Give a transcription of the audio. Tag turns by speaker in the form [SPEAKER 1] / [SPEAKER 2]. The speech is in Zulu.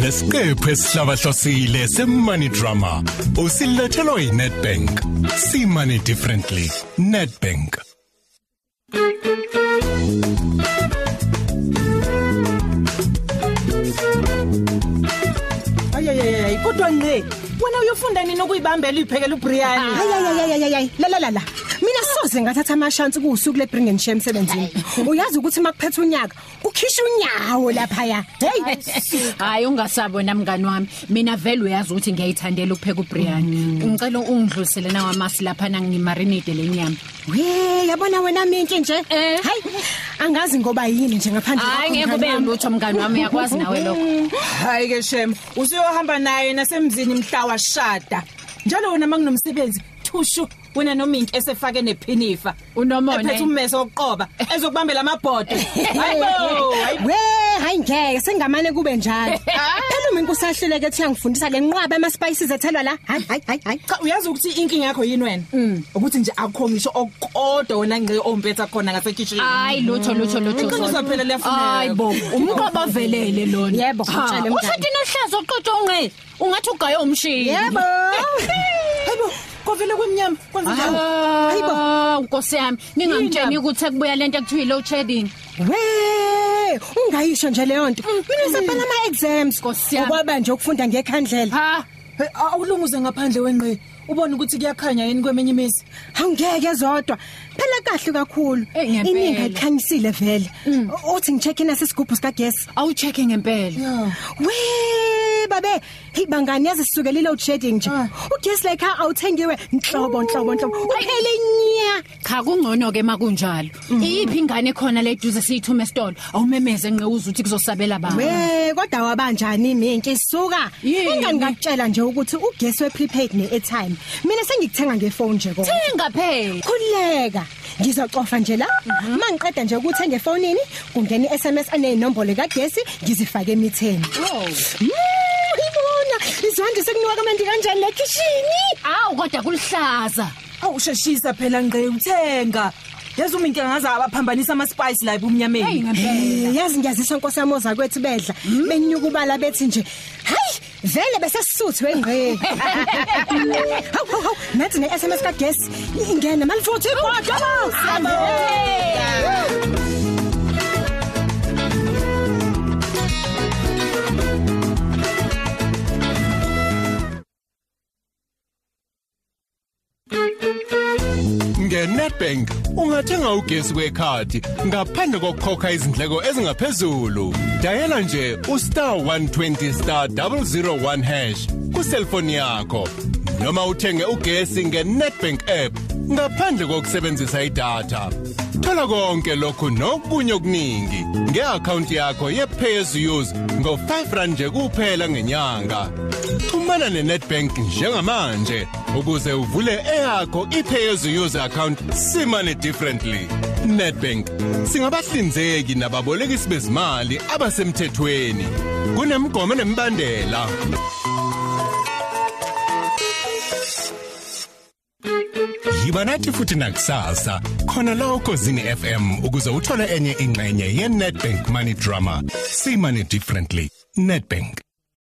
[SPEAKER 1] lesiqephu esihlabahlosile semoney drama usilethelwa yiNetbank see money differently Netbank
[SPEAKER 2] ayiyayiyayi kodwa nqe wena uyofunda nini ukuyibambela uyiphekela
[SPEAKER 3] Ah.
[SPEAKER 2] ubriyani
[SPEAKER 3] Hayayayayayayayi la la la la mina soze ngathatha amashansi kuusuku lebring and share emsebenzini uyazi ukuthi makuphethe unyaka ukhishwa unyawo lapha ya hey
[SPEAKER 4] Hayi ungasabi wena mngani wami. Mina vele uyazi ukuthi ngiyayithandela ukupheka uBrian. Ngicela ungidlulisele nawamasi lapha nangimarinate lenyama.
[SPEAKER 3] we yabona wena minki nje
[SPEAKER 4] Eh.
[SPEAKER 3] hay angazi ngoba yini nje ngaphandle
[SPEAKER 4] Hayi
[SPEAKER 3] kwakho,
[SPEAKER 4] ngeke ube
[SPEAKER 3] mngani wami.
[SPEAKER 4] lutho mngani wami uyakwazi nawe lokho.
[SPEAKER 2] hayi ke shem usuyohamba naye nasemzini mhla washada njalo wena makunomsebenzi thushu wena nominki esefake nephinifa
[SPEAKER 4] Unomona,
[SPEAKER 2] ephethe
[SPEAKER 4] eh?
[SPEAKER 2] ummeso wokuqoba ezokubambela amabhodo hayibo hayibo
[SPEAKER 3] we hayi ngeke sengamane kube njalo phela uma inkosi ahluleke ethi yangifundisa le nqwaba ama spices ethelwa la hayi hayi hayi hayi
[SPEAKER 2] cha uyazi ukuthi inkinga yakho yini wena ukuthi nje akho ngisho okodwa wona ngqe ompetha khona ngasekitchen
[SPEAKER 4] Hayi lutho lutho lutho.
[SPEAKER 2] Iqiniso phela liyafuneka.
[SPEAKER 4] Hayi bo, umnqoba velele lona.
[SPEAKER 3] Yebo, ngitshele mngani.
[SPEAKER 4] Ushathi nohlazo oqotho unqe. Ungathi ugaye umshini.
[SPEAKER 3] yebo
[SPEAKER 2] hayibo kovele kwemnyama kwenza njani
[SPEAKER 4] Hayibo,
[SPEAKER 3] Hayibo.
[SPEAKER 4] Nkosi yami, ningangitsheni ukuthi kubuya lento ekuthiwa low shedding.
[SPEAKER 3] we ungayisho nje leyo nto mina sephela ama exams
[SPEAKER 4] Mm, Nkosi yami.
[SPEAKER 3] ukwaba nje ukufunda ngekhandlela
[SPEAKER 4] Ha,
[SPEAKER 2] Hey, awulunguze ngaphandle wengqe ubone ukuthi kuyakhanya yini kwemenye imizi
[SPEAKER 3] awungeke zodwa phela kahle kakhulu
[SPEAKER 4] Eh, ngempela. Mm.
[SPEAKER 3] iningi ayikhanyisile vele uthi ngicheck in asisigubhu sika gas
[SPEAKER 4] awucheke ngempela.
[SPEAKER 3] we babe hey bangani yazi sisukelile ujedding nje
[SPEAKER 2] Ah.
[SPEAKER 3] ugas like ha awuthengiwe nhlobo nhlobo nhlobo uphele nya
[SPEAKER 4] Cha kungcono ke makunjalo. Iyiphi ingane khona le duze siyithume esitolo? Awumemeze nqe uze uthi kuzosabela baba.
[SPEAKER 3] we kodwa wabanjani minki suka
[SPEAKER 4] Yini?
[SPEAKER 3] ingani ngakutshela nje ukuthi ugas we prepaid ne airtime mina sengikuthenga ngefone nje kodwa
[SPEAKER 4] Thenga phela.
[SPEAKER 3] khuleka ngizocofa nje la mangiqeda nje ukuthenga efonini kungena iSMS anezinombolo kaGesi ngizifake emitheni
[SPEAKER 4] Wow.
[SPEAKER 3] ibona izwandi sekunuka kamandi kanjani lekishini
[SPEAKER 4] Awu kodwa kulihlaza.
[SPEAKER 2] awusheshisa phela ngqe uthenga yazi uma inkinga ngaze abaphambanisa ama-spice la
[SPEAKER 4] Hey
[SPEAKER 2] ebumnyameni
[SPEAKER 4] ngempela.
[SPEAKER 3] Eh, yazi ngiyazisa nkosi yamoza kwethu bedla benyuka ubala bethi nje hayi vele bese sisuthu wengqe haw haw haw nathi ne SMS kaGesi ingena malifuthi kodwa siyabona
[SPEAKER 1] ngeNetbank ungathenga ugesi wekhadi ngaphandle kokukhokha izindleko ezingaphezulu dayela nje ustar 120 star 001 hash kuselfoni yakho noma uthenge ugesi ngeNetbank app ngaphandle kokusebenzisa idatha thola konke lokhu nokunye okuningi ngeakhawunti yakho ye-pay as you use ngo-5 rand nje kuphela ngenyanga Xhumana neNetbank njengamanje ukuze uvule eyakho iPay User account simane differently. Netbank singabahlinzeki nababolekisi bezimali abasemthethweni. Kunemigomo nemibandela. Yiba nathi futhi nakusasa khona la ukozini FM ukuze uthole enye ingxenye yeNetbank Money Drama. Simane differently. Netbank.